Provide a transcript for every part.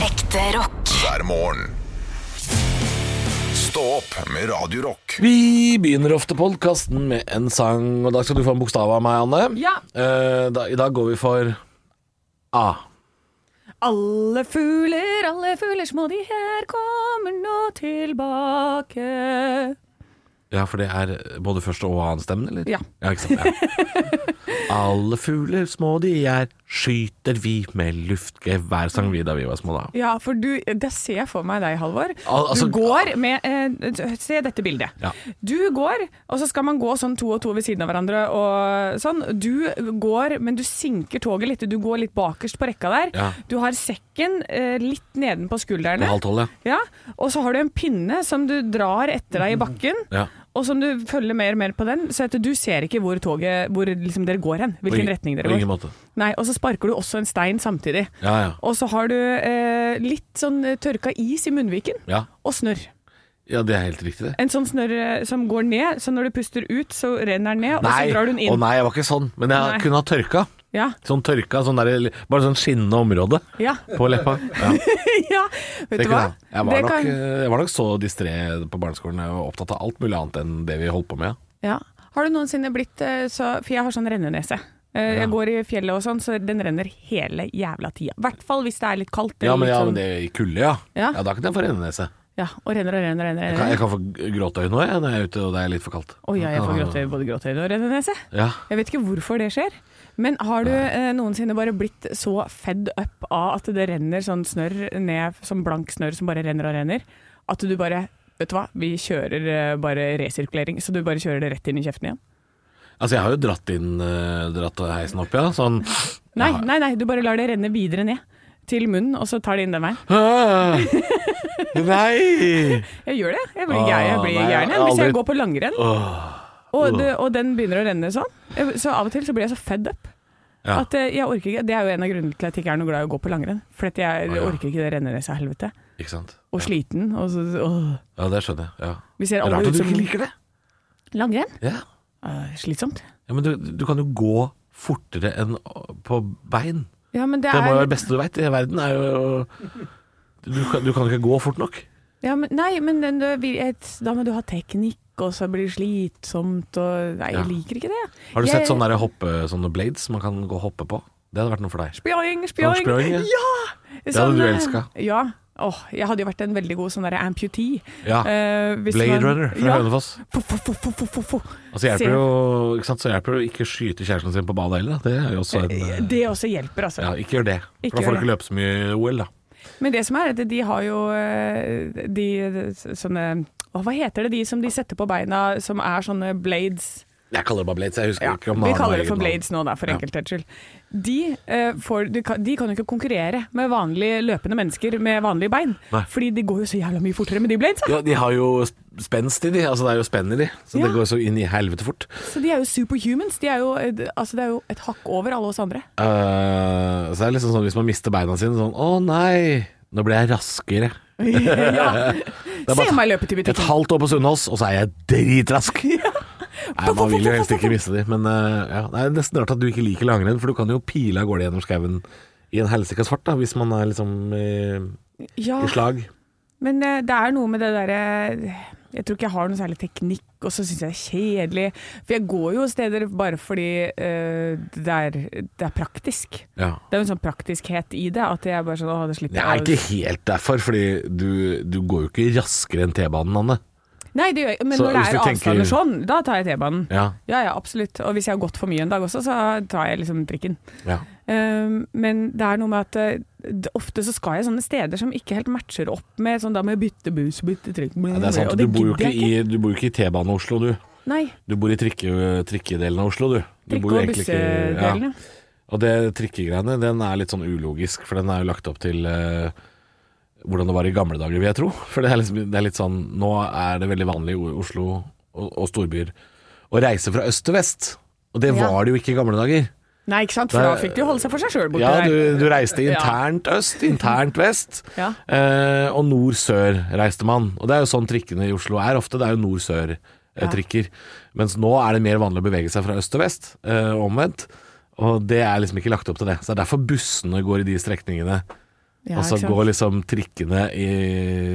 Ekte rock. hver morgen. Stå opp med Radio Rock. Vi begynner ofte podkasten med en sang, og da skal du få en bokstav av meg, Anne. Ja. Eh, da, I dag går vi for A. Alle fugler, alle fugler små, de her kommer nå tilbake. Ja, for det er både første og annen stemmen, eller? Ja. ikke sant? Ja. Alle fugler små de er, skyter vi med luftgevær, sang vi da vi var små, da. Ja, for du, det ser jeg for meg deg, Halvor. Al- altså- du går med eh, Se dette bildet. Ja. Du går, og så skal man gå sånn to og to ved siden av hverandre og sånn. Du går, men du sinker toget litt. Du går litt bakerst på rekka der. Ja. Du har sekken eh, litt nedenpå Det er skuldrene. halv tolv, ja. Ja, og så har du en pinne som du drar etter deg i bakken. ja. Og som du følger mer og mer på den, så at du ser ikke hvor toget Hvor liksom dere går hen. På Hvilken ing- retning dere På ingen går. måte. Nei, og så sparker du også en stein samtidig. Ja, ja. Og så har du eh, litt sånn eh, tørka is i munnviken. Ja, Og snørr. ja det er helt riktig, det. En sånn snørr eh, som går ned, så når du puster ut, så renner den ned, og så Nei, drar du den inn. å nei, jeg var ikke sånn. Men jeg Nei. kunne ha tørka. Ja, Sånn tørka, sånn der, bare sånn skinnende område ja, på leppa. Ja. ja. Vet Det du kunne hva? jeg. Jeg var, nok, Det eh, kan- jeg var nok så distré på barneskolen. Jeg var opptatt av alt mulig annet enn det vi holdt på med. Ja. Har du noensinne blitt eh, så For jeg har sånn rennenese. Eh, Ja. Jeg går i fjellet og sånn, så den renner hele jævla tida. I hvert fall hvis det er litt kaldt. Ja, men, litt ja, sånn- men det i kulde, ja. ja. Ja. Da kan jeg få rennenese. Ja, og renner og renner og renner. Jeg renner. kan, jeg kan få g- gråtøy nå jeg, når jeg er ute og det er litt for kaldt. Å ja, jeg får Ah. gråtøy, både gråtøyne og rennenese. Ja. Jeg vet ikke hvorfor det skjer. Men har du eh, noensinne bare blitt så fed up av at det renner sånn snørr ned, sånn blank snørr som bare renner og renner, at du bare Vet du hva, vi kjører eh, bare resirkulering, så du bare kjører det rett inn i kjeften igjen. Altså, jeg har jo dratt inn eh, Dratt heisen opp, ja. Sånn Nei, Ja. nei, nei, du bare lar det renne videre ned. Til munnen, og så tar det inn den veien. «Åh, Nei! Jeg gjør det. Jeg blir Åh, gæren jeg blir Ah, nei, gæren jeg igjen har hvis jeg aldri- går på langrenn, Åh. og, det, og den begynner å renne sånn. Jeg- Så av og til så blir jeg så fed up. Ja. At eh, jeg orker ikke, Det er jo en av grunnene til at jeg ikke er noe glad i å gå på langrenn. For at jeg Å, ja. orker ikke det rennereset av helvete. Ikke sant. Og sliten. Og så, åh. Ja, det skjønner jeg. Ja. Vi ser Det er alle rart ut at du som ikke liker det. langrenn. Ja, Eh, slitsomt. ja Men du, du kan jo gå fortere enn på bein. Ja, men det Det må jo er være det beste du veit i verden. Er jo, du, kan, du kan ikke gå fort nok. ja, men, Nei, men den, du- vi- et, da må du ha teknikk, og så blir det slitsomt, og Nei, Ja. jeg liker ikke det. Har du jeg, sett sånne, der hoppe, sånne blades man kan gå og hoppe på? Det hadde vært noe for deg. Spjåing, spjåing! spjåing, Sånn ja. Det hadde du elsket. Sånn, eh, Ja. Åh, jeg hadde jo vært en veldig god sånn derre amputee. Ja. Eh, hvis Blade man- Runner fra ja. Hønefoss. Fo, fo, fo, fo, fo, fo, fo. Og så hjelper Se. det jo ikke, sant? Så hjelper det jo ikke å skyte kjæresten sin på badet heller. da. Det er jo også en eh, Det også hjelper, altså. Ja, ikke gjør det. For da Ikke får gjør du ikke løpe så mye i OL, da. Men det som er, at de har jo eh, de sånne å, Hva heter det de som de setter på beina, som er sånne blades? Jeg kaller det bare blades. Jeg husker Ja, ikke om det vi har noe kaller det eget for navn. blades nå, da, for Ja. enkelthets skyld. De, eh, får, de, kan, de kan jo ikke konkurrere med vanlige løpende mennesker med vanlige bein. Nei. Fordi de går jo så jævla mye fortere med de bladesa. Ja, de har jo sp- spenst i de. Altså det er jo spenn i de. Så Ja. det går så inn i helvete fort. Så de er jo superhumans. De er jo, eh, altså, det er jo et hakk over alle oss andre. Eh, så det er liksom sånn hvis man mister beina sine sånn Å nei, nå ble jeg raskere. ja. er bare Se meg løpe til Et butikken. halvt år på Sunnaas, og så er jeg dritrask. Nei, man vil jo helst ikke miste de, men eh, ja, det er nesten rart at du ikke liker langrenn, for du kan jo pile av gårde gjennom skauen i en helsika svart, da, hvis man er liksom eh, Ja. i slag. Men eh, det er noe med det derre Jeg tror ikke jeg har noe særlig teknikk, og så syns jeg det er kjedelig. For jeg går jo steder bare fordi eh, det, er, det er praktisk. Ja. Det er jo en sånn praktiskhet i det, at jeg bare sånn Å, det slipper Det er ikke jeg. helt derfor, fordi du, du går jo ikke raskere enn T-banen, Anne. Nei, det gjør jeg. Men Så når det hvis er du tenker- avstander sånn, da tar jeg T-banen. Ja. Ja, ja absolutt. Og hvis jeg har gått for mye en dag også, så tar jeg liksom trikken. ja. Um, men det er noe med at eh, d- ofte så skal jeg sånne steder som ikke helt matcher opp med sånn da må jeg bytte buss, bytte trikk Ja, det er sant. Mm, og Du bor jo gidder ikke i, jeg du bor jo ikke i T-bane-Oslo, du. ikke. Nei. Du bor i trikke, trikkedelen av Oslo, du. du bor jo Trikke- og egentlig ikke- ja. bussedelene. Og det trikkegreiene, den er litt sånn ulogisk, for den er jo lagt opp til eh, hvordan det var i gamle dager, vil jeg tro. For det er, liksom, det er litt sånn Nå er det veldig vanlig i O- Oslo og, og storbyer å reise fra øst til vest. Og det Ja. var det jo ikke i gamle dager. Nei, ikke sant? For Det er- da fikk de jo holde seg for seg sjøl borte Ja, du, der. du reiste internt øst, internt vest, Ja. eh, og nord-sør reiste man. Og det er jo sånn trikkene i Oslo er ofte. Det er jo Ja. nord-sør-trikker. Mens nå er det mer vanlig å bevege seg fra øst til vest, eh, omvendt. Og det er liksom ikke lagt opp til det. Så det er derfor bussene går i de strekningene Ja, og så ikke sant? går liksom trikkene i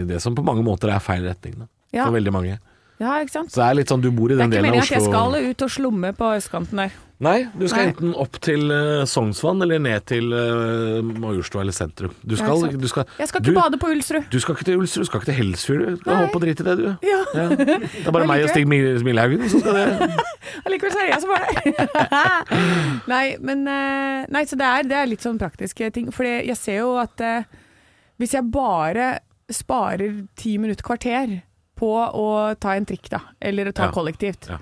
det som på mange måter er feil retning. Da. Ja. For veldig mange. ja, ikke sant? Så det er litt sånn du bor i Det er den ikke delen av meningen at Oslo. jeg skal ut og slumme på østkanten der. Nei, du skal Nei. enten opp til eh, Sognsvann eller ned til uh, Majorstua eller sentrum. Du skal, ikke sant. du skal, Jeg skal ikke du, bade på Ulsrud. Du skal ikke til Ulsrud, du skal ikke til Helsfyr. du. Du kan Nei. holde på å drite i det, du. Ja, Ja. Det er bare Men meg og likevel. Stig Mil- Milhaugen som skal det. allikevel så er det jeg som var der. nei, men eh, Nei, så det er, det er litt sånn praktiske ting. For jeg ser jo at eh, hvis jeg bare sparer ti minutter kvarter på å ta en trikk, da, eller å ta Ja. kollektivt, Ja.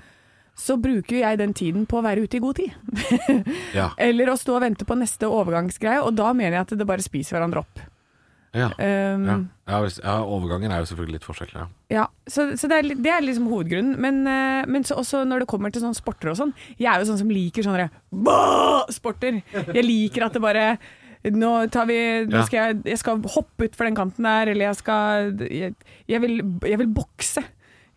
så bruker jeg den tiden på å være ute i god tid. Ja. Eller å stå og vente på neste overgangsgreie, og da mener jeg at det bare spiser hverandre opp. Ja. Um, Ja. Ja, hvis- ja, overgangen er jo selvfølgelig litt forskjellig. Ja. Ja, så, så det, er, li- det er liksom hovedgrunnen. Men, eh, men så også når det kommer til sånne sporter og sånn Jeg er jo sånn som liker sånne «Bah!» sporter. Jeg liker at det bare nå tar vi nå Ja. skal jeg, jeg skal hoppe utfor den kanten der, eller jeg skal jeg, jeg, vil, jeg vil bokse.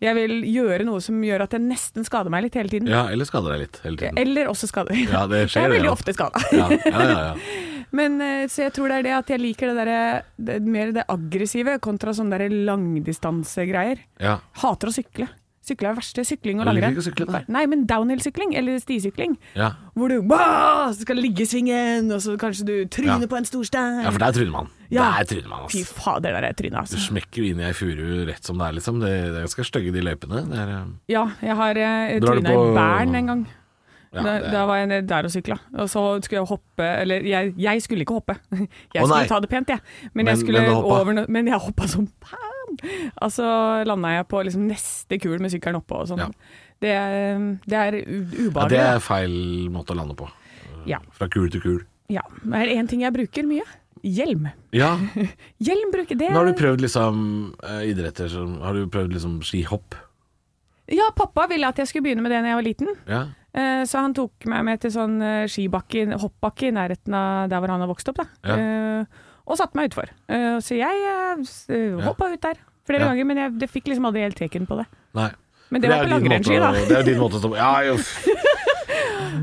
Jeg vil gjøre noe som gjør at jeg nesten skader meg litt hele tiden. ja, eller skader deg litt hele tiden. Eller også skader. Ja, det skjer jeg er det, veldig ja. ofte skada. Ja, ja, ja, ja. Men, eh, så jeg tror det er det at jeg liker det derre det- mer det aggressive kontra sånne derre langdistansegreier. ja. Hater å sykle. Sykle er det verste. Sykling og Jeg langrenn. liker ikke å sykle, nei. Nei, men downhill-sykling eller stisykling, ja. hvor du bah, så skal det ligge i svingen, og så kanskje du tryner Ja. på en stor stein. ja for der tryner man. Ja. Der tryner man, Fy altså. fader, der er jeg trynet, Du altså. smekker jo inn i ei furu rett som det er, liksom. Det, det er ganske stygge, de løypene. Det er, eh, Ja, jeg har eh, Drar du trynet på- i Bern en gang. ja, da, det er- da var jeg ned der og sykla, og så skulle jeg hoppe Eller jeg, jeg skulle ikke hoppe, Å, jeg skulle nei. ta det pent, jeg. Men, Men- jeg skulle men du hoppa. over no Men jeg hoppa som pam! Og så landa jeg på liksom neste kul med sykkelen oppå og sånn. Ja. Det, er- det er u- ja, ubehagelig. det da. er feil måte å lande på. Ja. Fra kul til kul. Ja, det er en ting jeg bruker mye. Hjelm. Ja, Hjelm bruker det. men har du prøvd liksom eh, idretter som Har du prøvd liksom skihopp? Ja, pappa ville at jeg skulle begynne med det da jeg var liten. Ja. Eh, Så han tok meg med til sånn eh, skibakke, hoppbakke i nærheten av der hvor han har vokst opp. Da. Ja. Eh, Og satte meg utfor. Eh, Så jeg hoppa ut der flere Ja. ganger, men jeg det fikk liksom aldri helt teken på det. Nei. Men det var er på din langrennsski, måte å- da. Det er jo din måte å stå på. Ja, jo.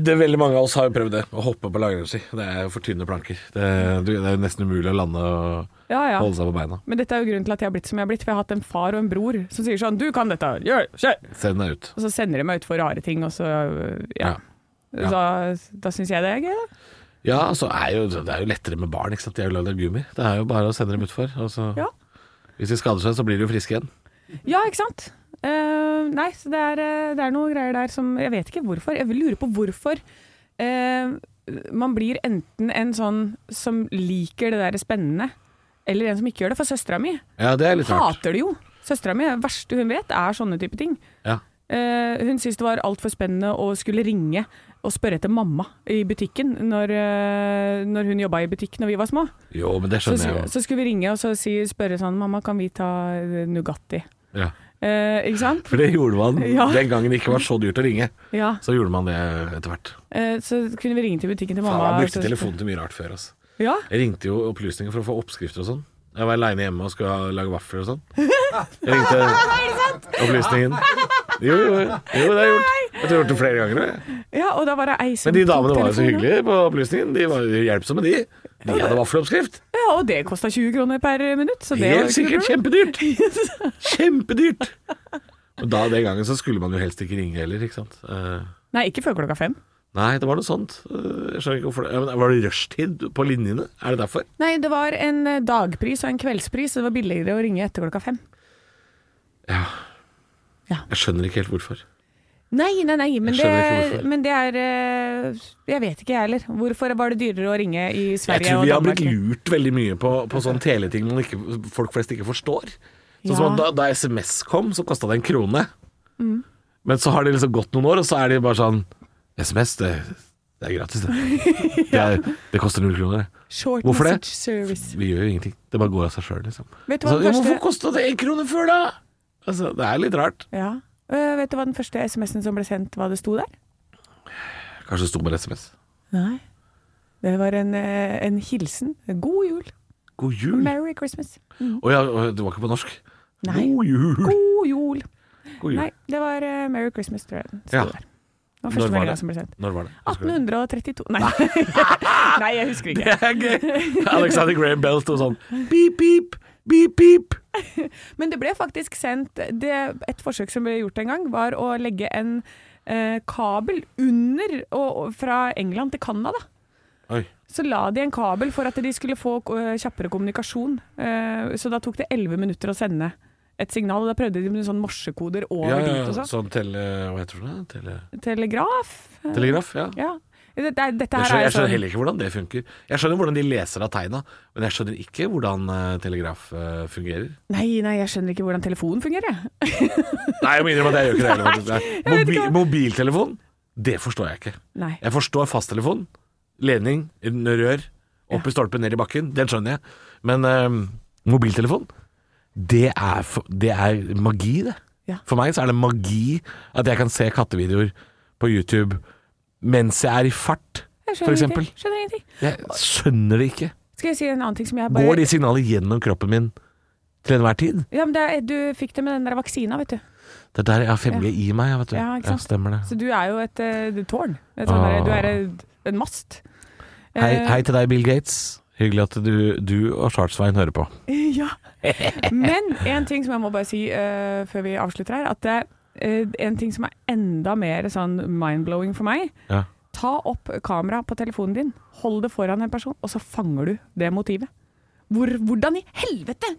Det er veldig mange av oss har jo prøvd det. Å hoppe på langrennsski. Det er jo for tynne planker. Det, du- det er jo nesten umulig å lande og Ja, ja. holde seg på beina. Men dette er jo grunnen til at jeg har blitt som jeg har blitt, for jeg har hatt en far og en bror som sier sånn 'du kan dette, gjør kjør!' Send deg ut. Og så sender de meg utfor rare ting, og så eh, ja. Ja. Ja. Da, da syns jeg det er gøy, da. Ja, så er jo, det er jo lettere med barn. ikke sant? De er jo lagd av gummi. Det er jo bare å sende dem utfor. og så- Ja. Hvis de skader seg, så blir de jo friske igjen. Ja, ikke sant? Eh, nei, så det er, eh, det er noen greier der som Jeg vet ikke hvorfor. Jeg lurer på hvorfor eh, man blir enten en sånn som liker det der spennende, eller en som ikke gjør det. For søstera mi Ja, det er litt rart. hater det jo. Søstera mi, det verste hun vet, er sånne type ting. Ja. Eh, hun syntes det var altfor spennende å skulle ringe og spørre etter mamma i butikken når, eh, når hun jobba i butikk når vi var små. Jo, men det Så, skjønner jeg jo. så skulle vi ringe og så si, spørre sånn Mamma, kan vi ta eh, Nugatti? Ja. Eh, ikke sant? For det gjorde man Ja. den gangen det ikke var så dyrt å ringe. Ja. Så gjorde man det etter hvert. Eh, Så kunne vi ringe til butikken til Faen, mamma. jeg og så- brukte telefonen til mye rart før. Altså. Ja, Jeg ringte jo opplysninger for å få oppskrifter og sånn. Jeg var aleine hjemme og skulle ha- lage vafler og sånn. Jeg ringte opplysningen. Jo, jo, jo, det har jeg gjort. Jeg tror jeg har gjort det flere ganger. jeg. ja og da var det ei som Men de tok damene var jo så telefonen. hyggelige på opplysningen. De var jo hjelpsomme, de. De hadde vaffeloppskrift. Ja, og det kosta 20 kroner per minutt. Så det var Helt ikke noe sikkert problem. kjempedyrt. Kjempedyrt. Og da den gangen så skulle man jo helst ikke ringe heller, ikke sant. Eh, Nei, ikke før klokka fem. Nei, det var noe sånt. Eh, Jeg skjønner ikke hvorfor det ja, men Var det rushtid på linjene? Er det derfor? Nei, det var en eh, dagpris og en kveldspris, så det var billigere å ringe etter klokka fem. Ja. Ja. Jeg skjønner ikke helt hvorfor. Nei, nei, nei, men Jeg skjønner ikke det, hvorfor. men det er eh, Jeg vet ikke, jeg heller. Hvorfor var det dyrere å ringe i Jeg Sverige tror og vi har Danmark? blitt lurt veldig mye på, på sånne teleting man ikke, folk flest ikke forstår. Sånn som Ja. Mm. at da, da SMS kom, så kosta det en krone. Men så har det liksom gått noen år, og så er de bare sånn SMS, det, det er gratis, det. Det, er, det koster null kroner. det. Short Hvorfor det? message service. Vi gjør jo ingenting. Det bare går av seg sjøl, liksom. Vet du Så, hva den ja, hvorfor første, kosta det én krone før, da? Altså, det er litt rart. ja. Eh, vet du hva den første SMS-en som ble sendt, hva det sto der? Kanskje det sto bare SMS. Nei. Det var en, eh, en hilsen. God jul. God jul. Merry Christmas. Å ja, å, det var ikke på norsk. Nei. God jul! God jul. God jul. Nei, det var eh, Merry Christmas, tror jeg. den sto Ja. der. var Når første var meldinga det? som ble sendt. Når var det? Husker du det? 1832 Nei, Nei jeg husker ikke. Det er gøy! Alexander Graham Bell sto sånn beep, beep, beep, beep. Men det ble faktisk sendt det, Et forsøk som ble gjort en gang, var å legge en eh, kabel under og, og fra England til Canada. Oi. Så la de en kabel for at de skulle få eh, kjappere kommunikasjon. Eh, så da tok det 11 minutter å sende et signal. og Da prøvde de med sånn morsekoder over Ja, ja, dit og ja. sånn. Sånn tele... Hva heter det? Tele... Telegraf? Eh, Telegraf? Ja. ja. Det, det, dette Jeg her skjønner, er jeg jo sånn skjønner heller ikke hvordan det funker. Jeg skjønner hvordan de leser av tegna, men jeg skjønner ikke hvordan eh, telegraf eh, fungerer. Nei, nei, jeg skjønner ikke hvordan telefonen fungerer, jeg. Nei, jeg må innrømme at jeg gjør ikke det heller. faktisk. vet Mobi ikke hva- mobiltelefon, det forstår jeg ikke. Nei. Jeg forstår fasttelefon, ledning, rør, opp i stolpen, ned i bakken. Den skjønner jeg. Men eh, mobiltelefon, det er, for, det er magi, det. Ja. For meg så er det magi at jeg kan se kattevideoer på YouTube mens jeg er i fart, Jeg for skjønner eksempel. ingenting. Skjønner ingenting. Jeg skjønner det ikke. Skal jeg si en annen ting som jeg bare Går de signalene gjennom kroppen min til enhver tid? Ja, men det, er- du fikk det med den der vaksina, vet du. Det er der jeg har 5G i meg, ja, vet du. Ja, ikke sant? stemmer det. Så du er jo et eh, tårn. Et sånt Ah. der, du er et, en mast. Hei, Eh, hei til deg, Bill Gates. Hyggelig at du, du og Charts-Svein hører på. Ja. Men en ting som jeg må bare si eh, før vi avslutter her, at det, eh, en ting som er enda mer sånn mind-blowing for meg Ja. Ta opp kamera på telefonen din, hold det foran en person, og så fanger du det motivet. Hvor, hvordan i helvete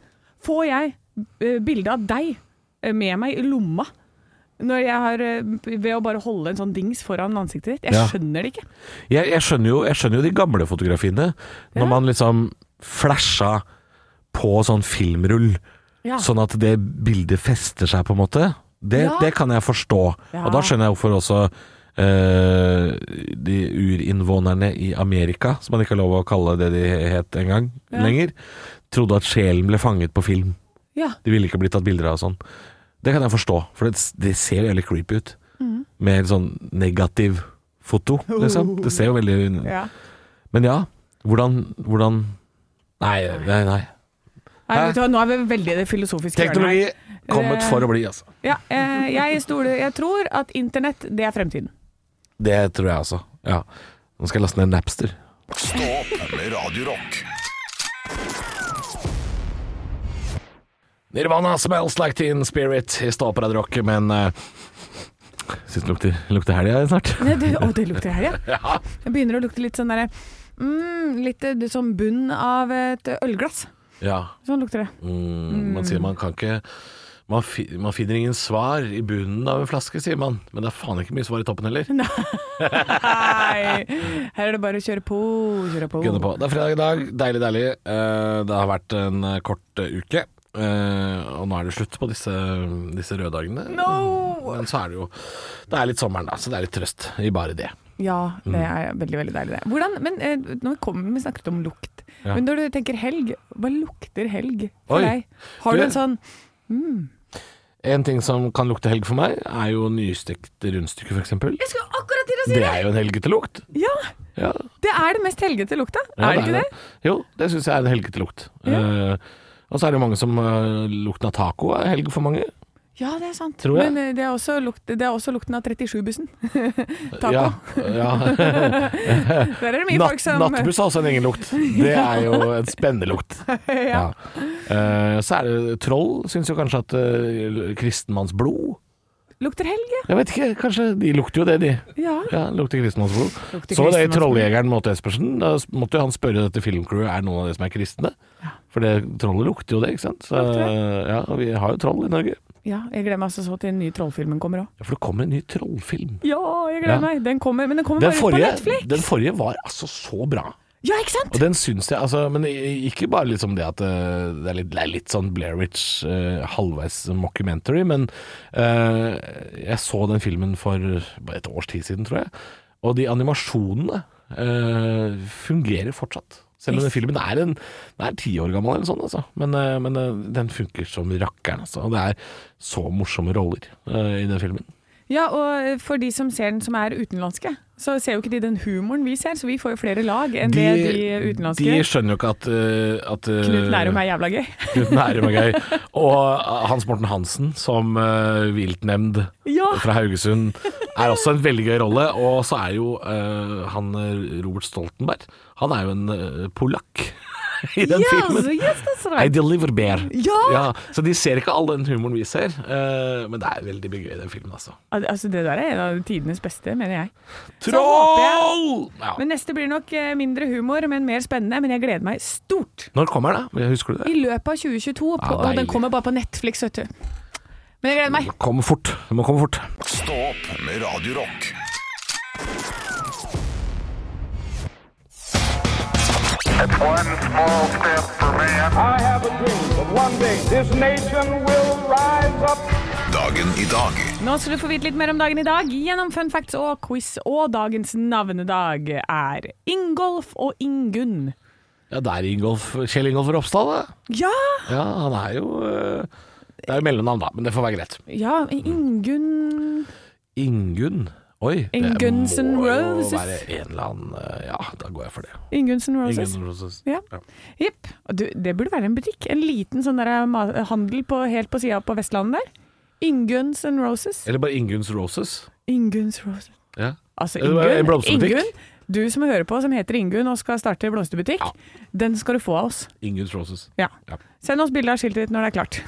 får jeg eh, bilde av deg eh, med meg i lomma? Når jeg har, eh, ved å bare holde en sånn dings foran ansiktet ditt. Jeg Ja. skjønner det ikke. Jeg, jeg, skjønner jo, jeg skjønner jo de gamle fotografiene. Når Ja. man liksom flasha på sånn filmrull, Ja. sånn at det bildet fester seg, på en måte. Det, Ja. det kan jeg forstå. Ja. Og da skjønner jeg hvorfor også eh, de urinnvånerne i Amerika, som man ikke har lov å kalle det de het en gang Ja. lenger, trodde at sjelen ble fanget på film. Ja. De ville ikke blitt tatt bilder av og sånn. Det kan jeg forstå, for det, det ser jo veldig creepy ut. Mm. Med sånn negativ foto, liksom. Det ser jo veldig ja. Men ja, hvordan, hvordan Nei, nei, nei. Nei, Hæ? vet du, hva, nå er vi veldig i det filosofiske hjørnet her. Teknologi kommet for å bli, altså. Ja, eh, jeg, stoler, jeg tror at internett, det er fremtiden. Det tror jeg også. Ja. Nå skal jeg laste ned Napster. Stå opp med Radio Rock. Nirvana smells like teen spirit. Jeg står på Radio Rock, men uh, Syns det lukter, lukter helg her snart. Nei, det, å, det lukter helg, ja. Det begynner å lukte litt sånn derre mm, Litt eh, det som bunn av et ølglass. Ja. Sånn lukter det. Mm, man sier man kan ikke man, fi, man finner ingen svar i bunnen av en flaske, sier man. Men det er faen ikke mye svar i toppen heller. Nei, her er det bare å kjøre på, kjøre på. Gunner på. Det er fredag i dag. Deilig, deilig. Eh, det har vært en eh, kort eh, uke. Eh, og nå er det slutt på disse, disse røddagene. No! Men så er det jo Det er litt sommeren, da, så det er litt trøst i bare det. Ja, det er veldig, veldig deilig det. Hvordan, men eh, nå kommer vi snakket om lukt. Ja. Men når du tenker helg, hva lukter helg for Oi. deg? Har Du- du en sånn En ting som kan lukte helg for meg, er jo nystekte rundstykker, f.eks. Jeg skulle akkurat til å si Det det! er jo en helgete lukt. Ja, Ja, det er det mest helgete lukta. Ja, er det ikke det? Jo, det syns jeg er en helgete lukt. Eh, og så er det mange som eh, lukten av taco er helg for mange. Ja, det er sant. Tror jeg. Men eh, det er også, lukt, det er også lukten av 37-bussen. Taco. Ja, ja. Der er det mye folk Natt, som nattbuss har også en egen lukt. Det er jo en spennende lukt. ja. Ja. Eh, så er det troll, syns jo kanskje at eh, kristenmannsblod Lukter helg, ja. Jeg vet ikke, kanskje de lukter jo det, de. ja. Ja, lukter kristenmannsblod. Lukter Så var det i kristenmannsblod. Trolljegeren mot Espersen. Da måtte jo han spørre dette filmcrewet er noen av de som er kristne. For det trollet lukter jo det, ikke sant. Så, Lukter ja, og vi har jo troll i Norge. Ja, jeg gleder meg altså så til den nye trollfilmen kommer òg. Ja, for det kommer en ny trollfilm. Ja, jeg Ja. gleder meg. Den kommer, men den kommer Den bare forrige, på Netflix. den forrige var altså så bra. Ja, ikke sant? Og den syns jeg altså, Men i- ikke bare liksom det at eh, det er litt, det er litt sånn Blairwich uh, halvveis mockumentary, men eh, jeg så den filmen for bare et års tid siden, tror jeg. Og de animasjonene eh, fungerer fortsatt. Selv om den filmen er en den er ti år gammel, eller sånn, altså. men, eh, men eh, den funker som rakkeren. Altså. Og det er så morsomme roller eh, i den filmen. Ja, og eh, for de som ser den som er utenlandske, så ser jo ikke de den humoren vi ser, så vi får jo flere lag enn det de utenlandske de de, skjønner jo ikke at, eh, at eh, Knut Nærum er jævla gøy. Knut Nærum er gøy. eh, Og Hans Morten Hansen som uh, viltnemnd Ja, fra Haugesund er også en veldig gøy rolle. Og så er jo eh, han eh, Robert Stoltenberg Han er jo en eh, polakk i den filmen. yes, that's I right. deliver bear. Ja! så de ser ikke all den humoren vi ser, eh, men det er veldig mye gøy i den filmen, altså. Al- Altså, det der er en av tidenes beste, mener jeg. Så håper jeg- Troll! Ja. Men neste blir nok eh, mindre humor, men mer spennende. Men jeg gleder meg stort. Når kommer det? Husker du I det? løpet av 2022, og på, Ja, deilig. og den kommer bare på Netflix, vet du. Men jeg gleder meg. Kom fort. Det må komme fort. Stå opp med Radio Rock. One small step for man. I have a dream that one day this nation will rise up. Dagen i dag Nå skal du få vite litt mer om dagen i dag gjennom fun facts og quiz. Og dagens navnedag er Ingolf og Ingunn. Ja, det er Ingolf, Kjell Ingolf Ropstad, det. Ja! Ja, han er jo eh, Det er jo mellomnavn, da, men det får være greit. Ja, Ingunn Ingunn. Oi. det Ingunnsen må jo Roses. være en eller annen eh, Ja, da går jeg for det. Ingunnsen Roses. Ingunnsen Roses. Ja. Jipp. Og du, Det burde være en butikk. En liten sånn der ma- handel på, helt på sida på Vestlandet der. Ingunns and Roses. Eller bare Ingunns Roses. Ingunns Roses. Ja. Altså Det var en Ingunn, blomsterbutikk. Ingunn, du som hører på som heter Ingunn og skal starte blomsterbutikk, den skal du få av oss. Ingunns Roses. Ja. Ja. Send oss bilde av skiltet ditt når det er klart.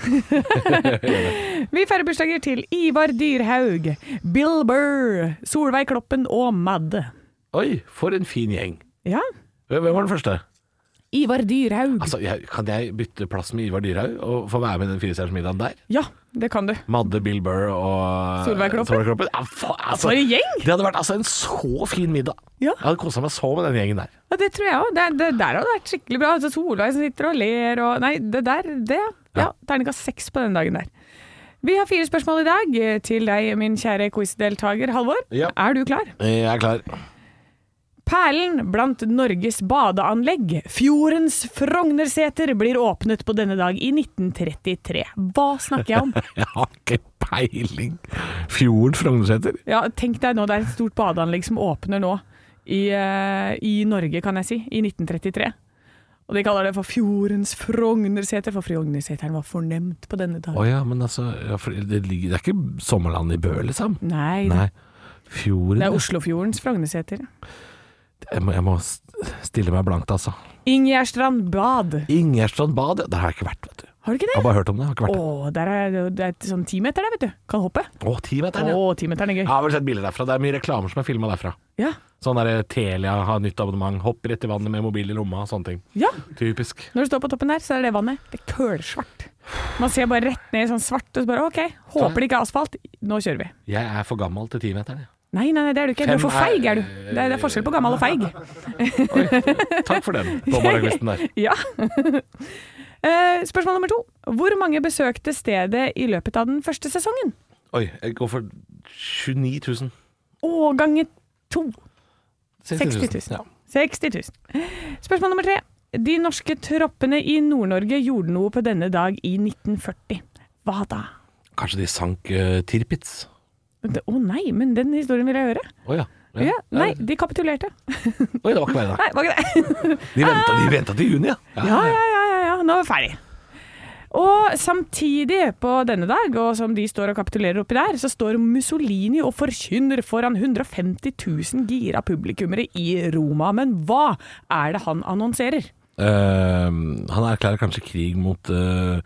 Vi feirer bursdager til Ivar Dyrhaug, Bill Burr, Solveig Kloppen og Madde. Oi, for en fin gjeng. Ja, Hvem var den første? Ivar Dyrhaug. Altså, jeg, Kan jeg bytte plass med Ivar Dyrhaug og få være med i den firestjernersmiddagen der? Ja, det kan du. Madde, Bill Burr og eh, Solveig Kloppen. Ja, fa- altså, For en gjeng! det hadde vært altså, en så fin middag. Ja. Jeg hadde kosa meg så med den gjengen der. Ja, det tror jeg òg. Det, det der hadde vært skikkelig bra. Altså, Solveig som sitter og ler og Nei, det der, det. Ja. Terningkast seks på den dagen der. Vi har fire spørsmål i dag eh, til deg, min kjære quizdeltaker Halvor. Ja. Er du klar? Jeg er klar. Perlen blant Norges badeanlegg, fjordens Frognerseter, blir åpnet på denne dag i 1933. Hva snakker jeg om? Jeg har ikke peiling. Fjorden Frognerseter? Ja, tenk deg nå, det er et stort badeanlegg som åpner nå i, eh, i Norge, kan jeg si, i 1933. Og de kaller det for fjordens Frognerseter, for Frognerseteren var fornemt på denne Å dag. ja, men altså ja, for det, ligger, det er ikke sommerland i Bø, liksom? Nei, Nei. det Fjorden er Oslofjordens Frognerseter. jeg, må, jeg må s- stille meg blankt, altså. Ingjerdstrand bad. Ingjerdstrand bad, ja, der har jeg ikke vært, vet du. Har du ikke Jeg har det? bare hørt om det. Jeg har ikke Å, vært der. der er det er et sånn timeter der, vet du. Kan hoppe. Å, timeteren, Å, ja. timeteren er Jeg gøy. har vel sett bilder derfra. Det er mye reklamer som er filma derfra. Ja. Sånn derre Telia har nytt abonnement, hopp rett i vannet med mobil i lomma og sånne ting. ja. Typisk. Når du står på toppen der, så er det vannet. Det er kølsvart. Man ser bare rett ned i sånn svart, og så bare OK, håper det ikke er asfalt. Nå kjører vi. Jeg er for gammel til timeteren, jeg. Nei, nei, nei, det er du ikke. Du er Fem for er- feig, er du. Det er, det er forskjell på gammel og feig. Takk for den, dommerlagvisten der. Ja. Eh, Spørsmål nummer to. Hvor mange besøkte stedet i løpet av den første sesongen? Oi, jeg går for 29 000. Å, gange to. 60 60 000. 60 000. Spørsmål nummer tre. De norske troppene i Nord-Norge gjorde noe på denne dag i 1940. Hva da? Kanskje de sank eh, Tirpitz? Å nei, men den historien vil jeg høre. Å ja. Ja, nei, de kapitulerte. Oi, det var ikke meg, da. Nei, var ikke det? De venta, de venta til juni, ja. Ja, ja, ja, ja, ja. nå er vi ferdig. Og samtidig på denne dag, og som de står og kapitulerer oppi der, så står Mussolini og forkynner foran 150 000 gira publikummere i Roma. Men hva er det han annonserer? Eh, han erklærer kanskje krig mot eh,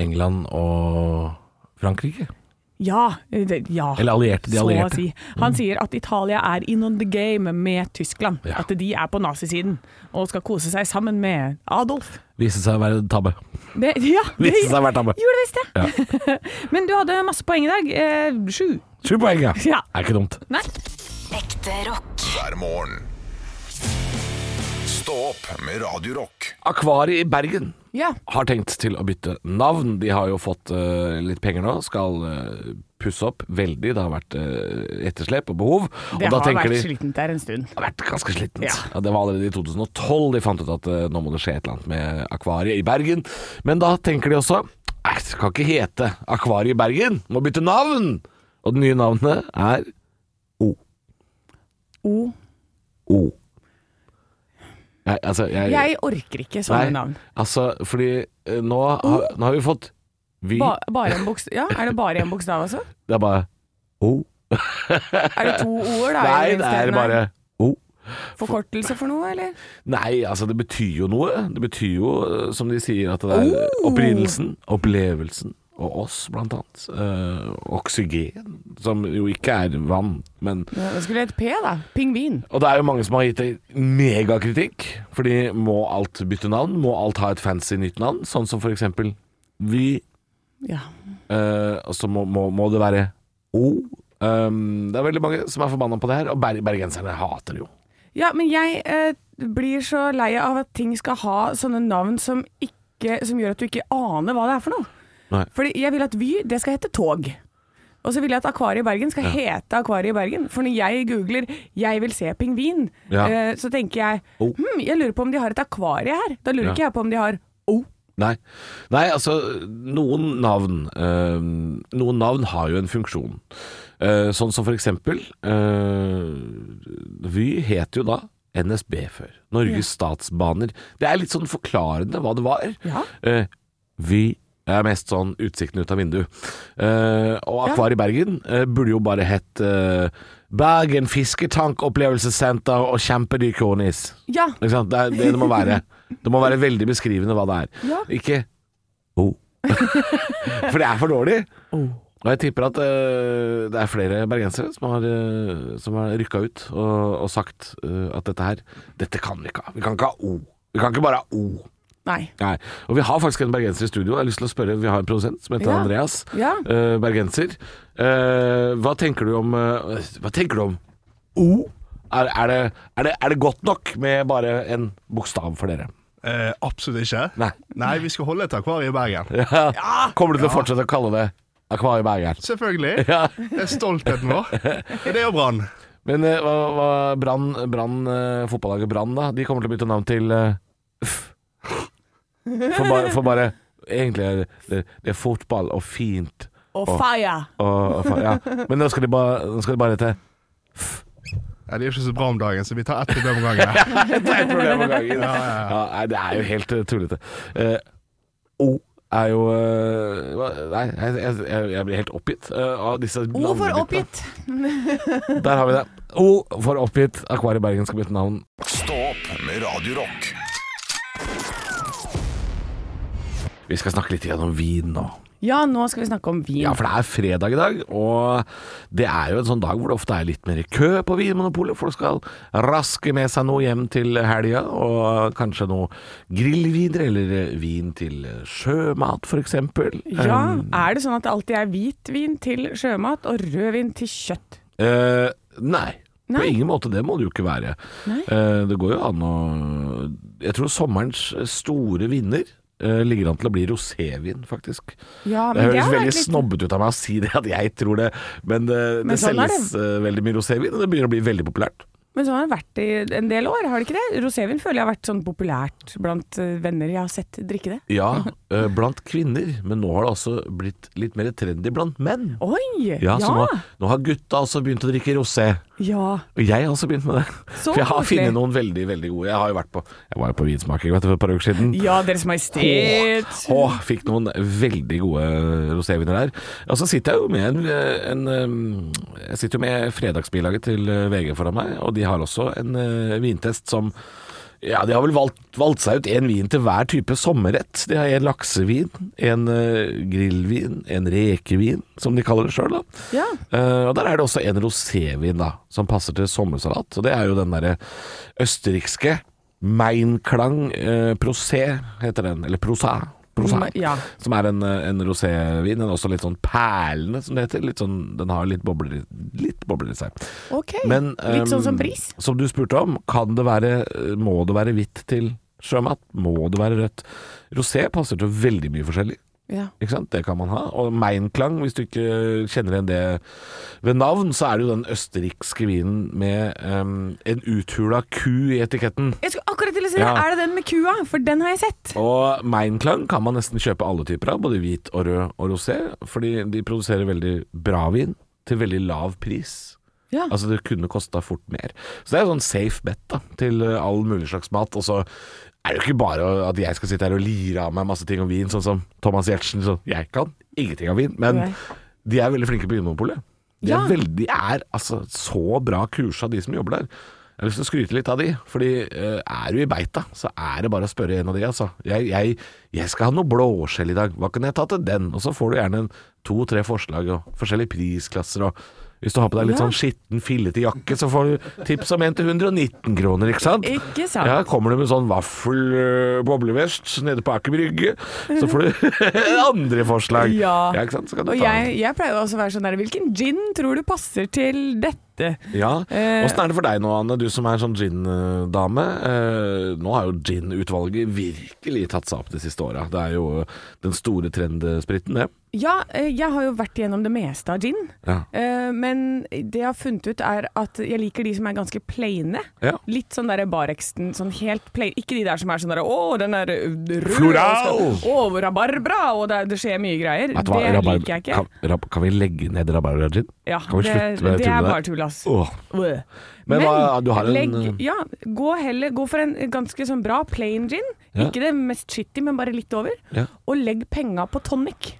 England og Frankrike? Ja, det, ja. Eller allierte, de så å allierte. Mm. si. Han sier at Italia er in on the game med Tyskland. Ja. At de er på nazisiden og skal kose seg sammen med Adolf. Viste seg å være tabbe. Det, ja, det Viste seg å være tabbe. gjorde det visst, ja. Men du hadde masse poeng i dag. Eh, sju. Sju poeng, ja. Ja. Er ikke dumt. Nei. Ekte rock. hver morgen. Stå opp med Radio Rock. Akvariet i Bergen Ja. har tenkt til å bytte navn. De har jo fått eh, litt penger nå, skal eh, pusse opp veldig. Det har vært eh, etterslep og behov. Det og da har tenker vært de- slitent der en stund. Det har vært ganske slitent. Ja. Ja. det var allerede i 2012 de fant ut at eh, nå må det skje et eller annet med Akvariet i Bergen. Men da tenker de også Nei, det kan ikke hete Akvariet i Bergen, må bytte navn! Og det nye navnet er O. O. Jeg, altså, jeg, Jeg orker ikke sånne Nei, navn. Altså, fordi eh, nå, har, nå har vi fått Vy. Ba, bare en bokstav Ja, er det bare en bokstav, altså? Det er bare O. Er det to ord, da? Nei, i det er stedet? bare O. Forkortelse for noe, eller? Nei, altså det betyr jo noe. Det betyr jo, eh, som de sier, at det er eh, opprinnelsen, opplevelsen og oss, blant annet. Eh, oksygen, som jo ikke er vann, men Ja, det skulle hett P, da. Pingvin. Og det er jo mange som har gitt det megakritikk, fordi må alt bytte navn? Må alt ha et fancy nytt navn? Sånn som for eksempel Vy, Ja. eh, og så må, må, må det være O. Um, det er veldig mange som er forbanna på det her, og ber bergenserne hater det jo. ja, men jeg eh, blir så lei av at ting skal ha sånne navn som, ikke, som gjør at du ikke aner hva det er for noe. Nei. Fordi jeg vil at Vy, det skal hete tog. Og så vil jeg at Akvariet i Bergen skal hete Akvariet i Bergen. For når jeg googler 'jeg vil se pingvin', Ja. eh, så tenker jeg Oh. hm, jeg lurer på om de har et akvarie her. Da lurer Ja. ikke jeg på om de har O. Nei. Nei, altså noen navn eh, Noen navn har jo en funksjon. Eh, sånn som for eksempel eh, Vy het jo da NSB før. Norges Statsbaner. Det er litt sånn forklarende hva det var. Ja. Eh, Vy er mest sånn utsikten ut av vinduet. Eh, og Akvar i Bergen eh, burde jo bare hett eh, Bergen Fisketank Opplevelsessenter og Kjempedyr Kronis. Ja. Ikke sant? Det er det det må være. Det må være veldig beskrivende hva det er. Ja. Ikke O. For det er for dårlig. Og jeg tipper at eh, det er flere bergensere som har, eh, som har rykka ut og, og sagt eh, at dette her Dette kan vi ikke ha. Vi kan ikke ha O. Vi kan ikke bare ha O. Nei. Nei. Og vi har faktisk en bergenser i studio. Jeg har lyst til å spørre, Vi har en produsent som heter Ja. Andreas. Ja. eh, bergenser. Eh, hva tenker du om eh, Hva tenker du om O? Er, er, det, er, det, er det godt nok med bare en bokstav for dere? Eh, absolutt ikke. Nei. vi skal holde et akvarie i Bergen. Kommer du til å fortsette å kalle det Akvariet Bergen? Selvfølgelig. Ja. Det er stoltheten vår. Det er jo Brann. Men eh, hva, hva Brann, Brann, eh, fotballaget Brann, da? De kommer til å bytte navn til eh, F. For bare, for bare Egentlig er det, det, det er fotball og fint. Og fire. og, og fa- ja. Men nå skal de bare, nå skal de bare hete Ja, de er ikke så bra om dagen, så vi tar ett problem om gangen. Ja, ja, ja. ja, Nei, det er jo helt eh, tullete. Eh, o er jo eh, hva- Nei, jeg, jeg, jeg- jeg blir helt oppgitt eh, av disse O for navnene ditt, oppgitt. da. Der har vi det. O for oppgitt. Akvariet Bergen skal bytte navn. Stå opp med Radio Rock. Vi skal snakke litt igjen om vin nå. Ja, nå skal vi snakke om vin. Ja, for det er fredag i dag, og det er jo en sånn dag hvor det ofte er litt mer kø på Vinmonopolet. Folk skal raske med seg noe hjem til helga, og kanskje noe grillviner, eller vin til sjømat f.eks. Ja, Um. Er det sånn at det alltid er hvitvin til sjømat og rødvin til kjøtt? Eh, nei. På Nei. ingen måte, det må det jo ikke være. Eh, det går jo an å Jeg tror sommerens store vinner eh, ligger an til å bli rosévin, faktisk. Ja, Det men det høres har vært veldig litt- snobbete ut av meg å si det, at jeg tror det, men det, Men det sånn er selges eh, veldig mye rosévin, og det begynner å bli veldig populært. Men sånn har det vært i en del år, har det ikke det? Rosévin føler jeg har vært sånn populært blant eh, venner jeg har sett drikke det. Ja, eh, blant kvinner, men nå har det også blitt litt mer trendy blant menn. Oi! Ja, Ja! Så nå, nå har gutta også begynt å drikke rosé. ja. Og jeg har også begynt med det. Så For jeg har koselig. funnet noen veldig, veldig gode. Jeg har jo vært på Jeg var jo på vinsmaking vet du, for et par uker siden. ja Deres Majestet! Åh, fikk noen veldig gode roséviner der. Og så sitter jeg jo med en, en um, Jeg sitter jo med fredagsbilaget til eh, VG foran meg, og de har også en eh, vintest som ja, De har vel valgt, valgt seg ut én vin til hver type sommerrett. De har en laksevin, en eh, grillvin, en rekevin, som de kaller det sjøl. Ja. Eh, og der er det også en rosévin da, som passer til sommersalat. Og Det er jo den derre østerrikske Meinklang eh, Prosé, heter den. Eller Prosa. Prosa. Mm, Ja. Som er en, eh, en rosévin. Den er også litt sånn perlende, som det heter. Litt sånn, den har litt bobler, i- litt bobler i seg. Ok. Men, ehm, litt sånn som bris? Som du spurte om, kan det være, eh, må det være hvitt til sjømat? Må det være rødt? Rosé passer til veldig mye forskjellig. Ja. Ikke sant? Det kan man ha. Og Meinklang, hvis du ikke kjenner igjen det ved navn, så er det jo den østerrikske vinen med ehm, en uthula ku i etiketten. Jeg skulle akkurat til å si det! Ja. Er det den med kua? For den har jeg sett. Og Meinklang kan man nesten kjøpe alle typer av, både hvit og rød og rosé, fordi de produserer veldig bra vin til veldig lav pris. Ja. Altså det kunne kosta fort mer. Så det er jo sånn safe bet da, til eh, all mulig slags mat. Og så er det jo ikke bare å- at jeg skal sitte her og lire av meg masse ting om vin, sånn som Thomas Giertsen. Så jeg kan ingenting av vin, men Nei. de er veldig flinke på Vinmonopolet. De Ja. er, veldig, de er altså så bra kursa, de som jobber der. Jeg har lyst til å skryte litt av de, fordi eh, er du i beita, så er det bare å spørre en av de, altså. Jeg, jeg, jeg skal ha noe blåskjell i dag, hva kan jeg ta til den? Og så får du gjerne en to-tre forslag, og forskjellige prisklasser, og hvis du har på deg litt Ja. sånn skitten, fillete jakke, så får du tips om en til 119 kroner, ikke sant? Ikke sant. Ja, kommer du med sånn vaffel-boblevest nede på Aker Brygge, så får du andre forslag. Mhm. Ja. ikke sant? Så kan du Og ta jeg, jeg pleier jo også å være sånn der Hvilken gin tror du passer til dette? Ja. Eh, Åssen er det for deg nå, Anne, du som er sånn gin-dame? Eh, nå har jo gin-utvalget virkelig tatt seg opp de siste åra. Det er jo eh, den store trendspriten, det. Ja, eh, jeg har jo vært igjennom det meste av gin. Ja. Eh, Men det jeg har funnet ut, er at jeg liker de som er ganske plaine. Ja. Litt sånn derre Bareksten, sånn helt plain. Ikke de der som er sånn derre Å, den er rød Floral!» og skal- Å, rabarbra! Og det, det skjer mye greier. Vet Det du hva, rabarb- liker jeg ikke. Kan, rab- kan vi legge ned rabarbra-gin? ja, kan vi slutte med det det, det er tullet bare der? tull, ass. Åh. Øh. Men hva- du har en- eh, legg, ja, gå, heller, gå for en ganske sånn bra plain gin. Ja. Ikke det mest shitty, men bare litt over. Ja. Og legg penga på tonic.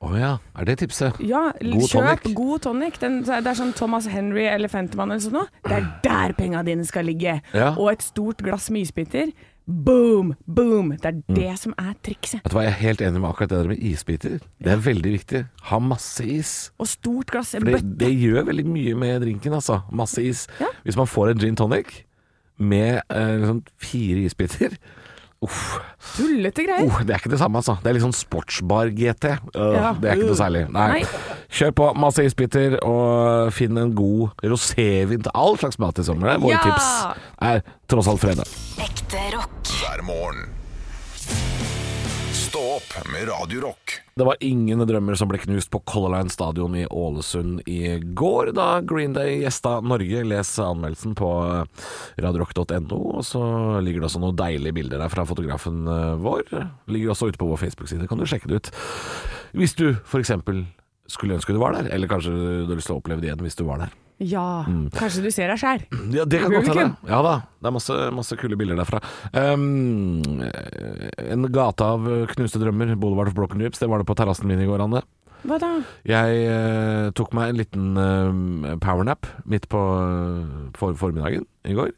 Å ja, er det tipset? Ja, l- God kjøp tonic. god tonic. Den, det er sånn Thomas Henry eller Fentermann eller sånt noe. Det er der penga dine skal ligge. Ja. Og et stort glass med isbiter. Boom, boom. Det Mm. er det som er trikset. Vet du hva, Jeg er helt enig med akkurat det der med isbiter. Det er veldig viktig. Ha masse is. Og stort glass. For det, bøtt- det gjør veldig mye med drinken, altså. Masse is. Ja. Hvis man får en gin tonic med eh, liksom fire isbiter Uff. Tullete greier. Uh, det er ikke det samme, altså. Det er litt sånn sportsbar GT. Øh, Ja. Det er ikke noe særlig. Nei. Nei. Kjør på. Masse isbiter, og finn en god rosévin til all slags mat i sommer. Det er Våre Ja. tips er tross alt fredag. Ekte rock. hver morgen. Stå opp med Radio Rock. Det var ingen drømmer som ble knust på Color Line Stadion i Ålesund i går, da Green Day gjesta Norge. Les anmeldelsen på eh, radiorock.no, og så ligger det også noen deilige bilder der fra fotografen eh, vår. Ligger også ute på vår Facebook-side, kan du sjekke det ut. Hvis du f.eks. skulle ønske du var der, eller kanskje du har lyst til å oppleve det igjen hvis du var der. Ja, Mm. kanskje du ser deg sjæl. Ja, det kan godt hende. Publikum. Ja da. Det er masse, masse kule bilder derfra. Um, en gate av knuste drømmer, Boulevard of Broken Rips, det var det på terrassen min i går, Anne. Hva da? Jeg eh, tok meg en liten eh, powernap midt på eh, for formiddagen i går.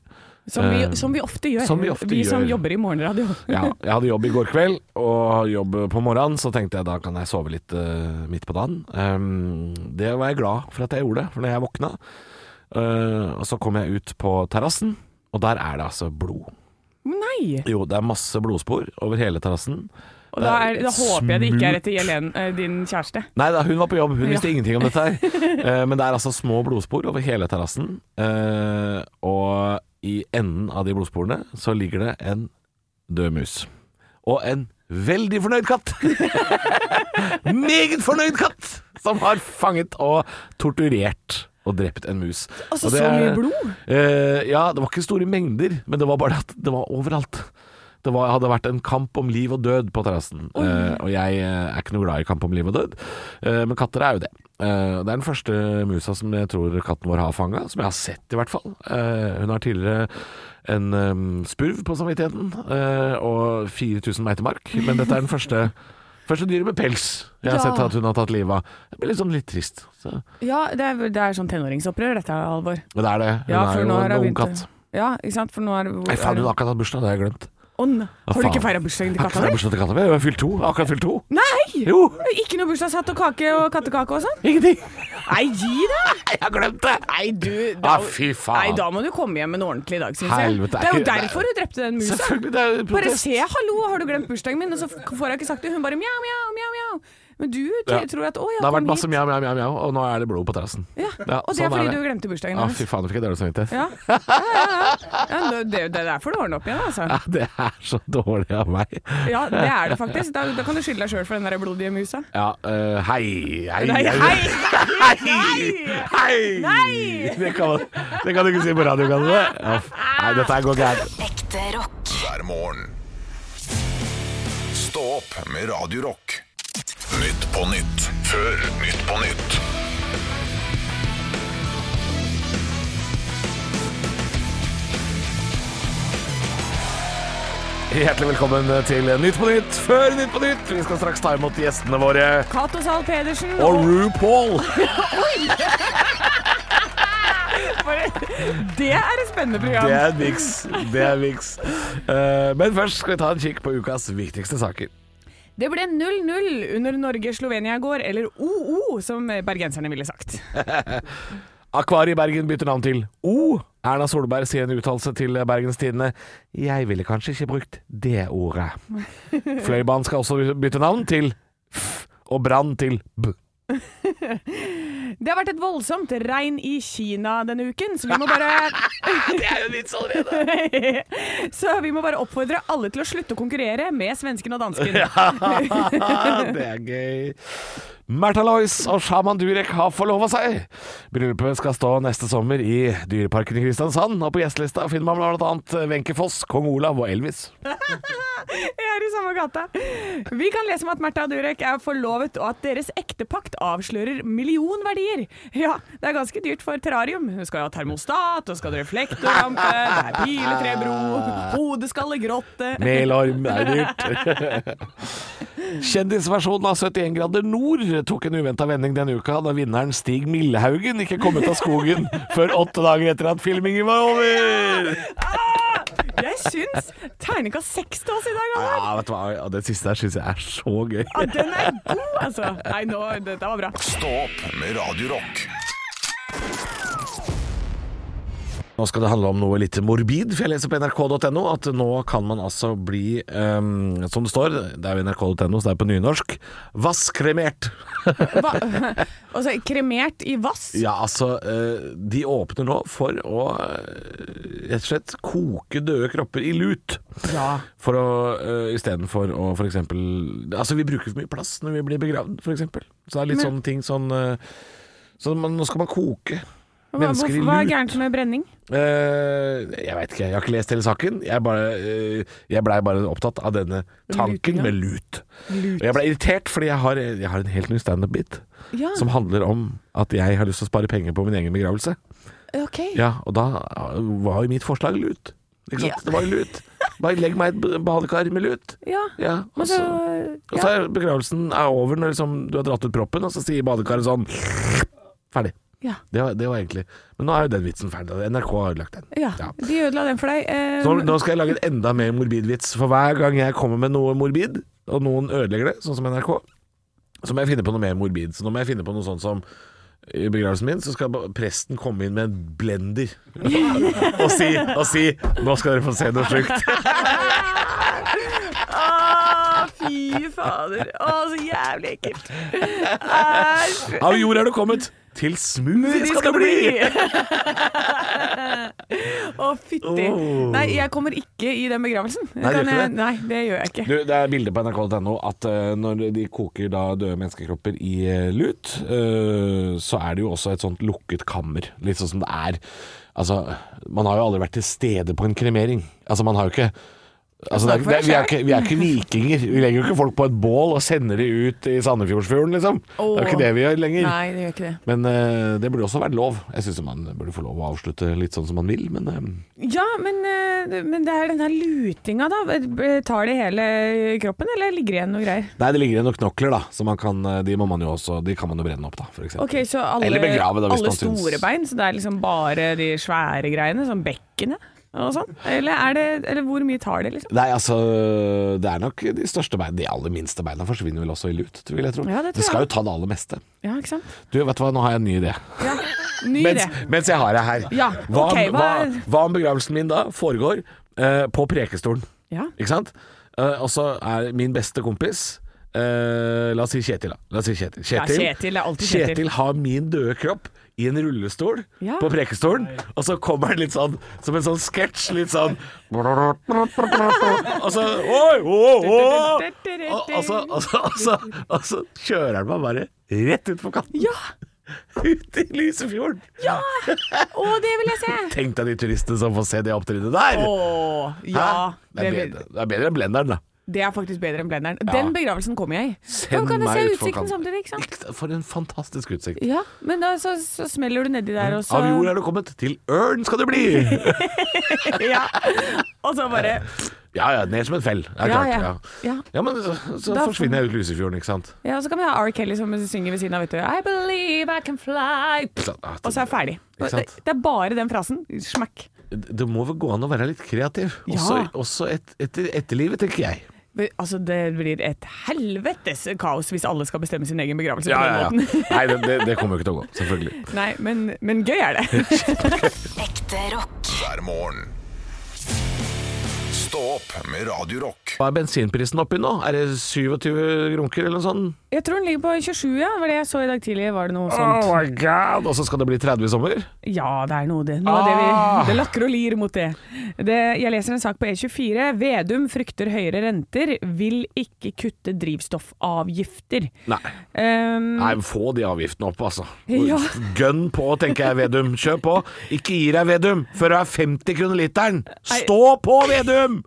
Som vi, Eh, som vi ofte gjør. som vi ofte som gjør. jobber i morgenradio. Ja, jeg hadde jobb i går kveld og jobb på morgenen, så tenkte jeg da kan jeg sove litt eh, midt på dagen. Ehm, det var jeg glad for at jeg gjorde, for når jeg våkna eh, Og så kom jeg ut på terrassen, og der er det altså blod. Nei! Jo, det er masse blodspor over hele terrassen. Og da, er, Det er da håper jeg det ikke er smult. etter Jelen, eh, din kjæreste. Nei da, hun var på jobb, hun Ja. visste ingenting om dette her. Eh, men det er altså små blodspor over hele terrassen. Eh, og i enden av de blodsporene så ligger det en død mus. Og en veldig fornøyd katt! Meget fornøyd katt! Som har fanget og torturert og drept en mus. Altså, Og det så mye er- blod! Eh, ja, det var ikke store mengder, men det var bare at det var overalt. Det var, hadde vært en kamp om liv og død på terrassen, Eh, og jeg eh, er ikke noe glad i kamp om liv og død, Eh, men katter er jo det. Eh, det er den første musa som jeg tror katten vår har fanga, som jeg har sett i hvert fall. Eh, hun har tidligere en eh, spurv på samvittigheten eh, og 4000 meitemark, men dette er den første, første dyret med pels jeg har Ja. sett at hun har tatt livet av. Jeg blir litt sånn litt trist. Så. Ja, det er, det er sånn tenåringsopprør, dette, Halvor. Men det er det. Hun Ja, for er jo nå en har jeg ung begynt å- katt. Ja, ikke sant? For nå er Nei, faen, hun har akkurat hatt bursdag, det har jeg glemt. Ånd! Hva Har du faen? ikke feira bursdagen Jeg til har ikke katta feiret di? bursdag til katta mi. Hun har fylt to. Akkurat fylt to. Nei! Jo, Ikke noe bursdagshatt og kake og kattekake og sånn? ingenting. Nei, gi deg! Jeg har glemt det. Nei, du Ah, fy faen. Nei, da må du komme hjem med noe ordentlig i dag, syns jeg. Helvete, er Det er jo ikke- derfor hun drepte den musa. Selvfølgelig, det er jo Bare protest. se 'hallo, har du glemt bursdagen min?' Og så får jeg ikke sagt det. Hun bare mjau, mjau, mjau. mjau. Men du t- Ja. tror at 'å ja, Det har vært kom masse hit'. mjau, mjau, mjau, mjau, og nå er det blod på terrassen. Ja. Ja, Og det sånn er fordi er det. du glemte bursdagen Å, hennes. fy faen, nå fikk jeg dårlig samvittighet. Ja. Ja, ja, ja. ja, det- det det er derfor du ordner opp igjen, altså. Ja, Det er så dårlig av meg. Ja, det er det faktisk. Da, da kan du skylde deg sjøl for den der blodige musa. Ja, eh, hei, hei, Nei, hei, hei! hei, hei. Nei! Det kan, man- det kan du ikke si på radio, kan du det? Ja, f- Nei, dette her går gærent. Ekte rock. hver morgen. Stå opp med Radio Rock. Nytt på nytt før Nytt på nytt. Hjertelig velkommen til Nytt på Nytt før Nytt på Nytt. Vi skal straks ta imot gjestene våre Cato Zahl Pedersen og RuPaul. bare- Det er et spennende program. Det er miks. Det er miks. Eh, men først skal vi ta en kikk på ukas viktigste saker. Det ble 0-0 under Norge-Slovenia i går, eller OO, som bergenserne ville sagt. Akvariet i Bergen bytter navn til O. Erna Solberg sier en uttalelse til Bergens Tidende. Jeg ville kanskje ikke brukt det ordet. Fløibanen skal også bytte navn til F, og Brann til B. Det har vært et voldsomt regn i Kina denne uken, så vi må bare Det er jo vits allerede! Så vi må bare oppfordre alle til å slutte å konkurrere med svensken og dansken. det er gøy. Märtha Lois og Shaman Durek har forlova seg. Bryllupet skal stå neste sommer i Dyreparken i Kristiansand, og på gjestelista finner man bl.a. Wenche Foss, kong Olav og Elvis. Jeg er i samme gata. Vi kan lese om at Märtha og Durek er forlovet, og at deres ektepakt avslører millionverdier. Ja, det er ganske dyrt for terrarium. Hun skal jo ha termostat, og skal ha reflektorlampe, det er piletrebro, hodeskallegrotte Melorm er dyrt. Kjendisversjonen av 71 grader nord tok en uventa vending denne uka da vinneren Stig Millehaugen ikke kom ut av skogen før åtte dager etter at filmingen var over. Ah! Jeg syns terningkast seks til oss i dag, Anna. Ja, vet du hva? Ja, Det siste her syns jeg er så gøy. Ja, den er god, altså. Nei, nå, dette var bra. Stå opp med Radio Rock. Nå skal det handle om noe litt morbid, for jeg leser på nrk.no at nå kan man altså bli, ehm, som det står, det er jo nrk.no, så det er på nynorsk, vaskremert. Hva? Altså, kremert i vass? Ja, altså, eh, de åpner nå for å eh, rett og slett koke døde kropper i lut. Ja. For å, eh, istedenfor å for eksempel Altså, vi bruker for mye plass når vi blir begravd, for eksempel. Så det er litt sånne ting sånn eh, Så man, nå skal man koke Hva, mennesker i hva er lut. gærent med brenning? Eh, jeg veit ikke, jeg har ikke lest hele saken. Jeg, bare, eh, jeg blei bare opptatt av denne tanken Lutinga. med lut. Og jeg blei irritert fordi jeg har, jeg har en helt ny standup-bit Ja, som handler om at jeg har lyst til å spare penger på min egen begravelse. ok. Ja, Og da eh, var jo mitt forslag lut. Ikke sant? Ja. Det var jo lut. Bare legg meg i et badekar med lut. Ja. Ja, og Men så, så, og så er begravelsen er over når liksom, du har dratt ut proppen, og så sier badekaret sånn Ferdig. ja, Det var, det var egentlig Men nå er jo den vitsen ferdig. NRK har ødelagt den. ja, ja. De ødela den for deg. Eh, Så nå skal jeg lage en enda mer morbid vits, for hver gang jeg kommer med noe morbid, og noen ødelegger det, sånn som NRK, så må jeg finne på noe mer morbid. Så nå må jeg finne på noe sånn som i begravelsen min så skal ba- presten komme inn med en blender og, si, og si 'Nå skal dere få se noe sjukt'. ah, fy fader. Å, så jævlig ekkelt. Æsj. Av jord er du kommet, til smoothie skal det bli! Å, fytti. Nei, jeg kommer ikke i den begravelsen. Oh. Nei, du gjør Kan ikke jeg- det? Nei, det gjør jeg ikke. Du, det er bilder på nrk.no at eh, når de koker da døde menneskekropper i eh, lut, eh, så er det jo også et sånt lukket kammer. Litt sånn som det er Altså, man har jo aldri vært til stede på en kremering. Altså, man har jo ikke Altså, det er, Snakk for det er, deg vi, er selv. ikke, vi er ikke vikinger. Vi legger jo ikke folk på et bål og sender de ut i Sandefjordsfjorden, liksom. Det er jo ikke det vi gjør lenger. Nei, det gjør ikke det. Men eh, det burde også vært lov. Jeg syns man burde få lov å avslutte litt sånn som man vil, men eh, Ja, men, eh, men det er den her lutinga, da. Tar det hele kroppen, eller ligger det igjen noe greier? Nei, det ligger igjen noen knokler, da. Så man kan, eh, de må man jo også De kan man jo brenne opp, da, for eksempel. Ok, så alle, Eller begrave, da, hvis alle man syns- store bein, så det er liksom bare de svære greiene, som bekkenet og sånn? Eller, er det, eller hvor mye tar det, liksom? Nei, altså Det er nok de største beina. De aller minste beina forsvinner vel også i lut, tror jeg. Tror. Ja, det tror det skal jeg. jo ta det aller meste. Ja, ikke sant? Du, vet du hva, nå har jeg en ny idé. Ja. Ny Mens, idé. mens jeg har deg her. Ja, hva, ok, hva, hva- hva om begravelsen min da foregår eh, på Prekestolen? Ja. Ikke sant? Eh, og så er min beste kompis eh, La oss si Kjetil, da. La oss si Kjetil. Kjetil er alltid Kjetil. Kjetil har min døde kropp i en rullestol Ja. på Prekestolen, og så kommer han litt sånn som en sånn sketsj, litt sånn Og så Oi, oi, oi! Og, og, så, og, så, og, så, og så kjører han meg bare rett ut på kanten. Ja! Ut i Lysefjorden. Ja! Å, det vil jeg se! Tenk deg de turistene som får se det opptrinnet der. Å, Hæ? ja. det, er vil- bedre, det er bedre enn blenderen, da. det er faktisk bedre enn blenderen. Den begravelsen kommer jeg i. Da Send kan jeg meg se ut for utsikten kanten. samtidig, ikke sant? For en fantastisk utsikt. Ja, men da så, så smeller du nedi der, og så Av jord er du kommet, til ørn skal du bli! Ja. Og så bare Ja, ja, ned som en fell. Det er Ja, klart. ja. Ja. Ja. ja, men så, så Da- forsvinner jeg ut Lusefjorden, ikke sant. Ja, og så kan vi ha R. Kelly som synger ved siden av. Vet du. I believe I can fly. Så, ah, Og så er jeg ferdig. Ikke Det, sant? det er bare den frasen. Smack. det, det må vel gå an å være litt kreativ. Ja. Også, også et, etter etterlivet, tenker jeg. Altså, det blir et helvetes kaos hvis alle skal bestemme sin egen begravelse. på den måten. Nei, det, det, det kommer jo ikke til å gå. Selvfølgelig. Nei, men, men gøy er det. Ekte rock. hver morgen. Stå opp med Radio Rock. Hva er bensinprisen oppi nå? Er det 27 grunker eller noe sånt? Jeg tror den ligger på 27, ja. Var det jeg så i dag tidlig? Var det noe sånt? Oh my god! Og så skal det bli 30 i sommer? Ja, det er noe det. Noe av det, Ah. vi, det lakker og lir mot det. det. Jeg leser en sak på E24. Vedum frykter høyere renter, vil ikke kutte drivstoffavgifter. Nei. Um, Nei, få de avgiftene opp, altså. Ja. Gønn på, tenker jeg, Vedum. Kjør på. Ikke gi deg, Vedum, før du er 50 kroner literen. Stå på, Vedum!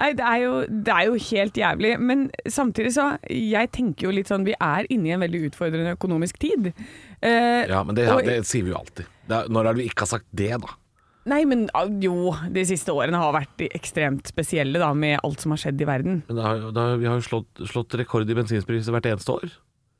Nei, det er, jo, det er jo helt jævlig. Men samtidig så Jeg tenker jo litt sånn Vi er inne i en veldig utfordrende økonomisk tid. Eh, Ja, men det, og- det sier vi jo alltid. Det er, når er det vi ikke har sagt det, da? Nei, men ah, jo. De siste årene har vært ekstremt spesielle, da, med alt som har skjedd i verden. Men vi har jo slått, rekord i bensinpriser hvert eneste år.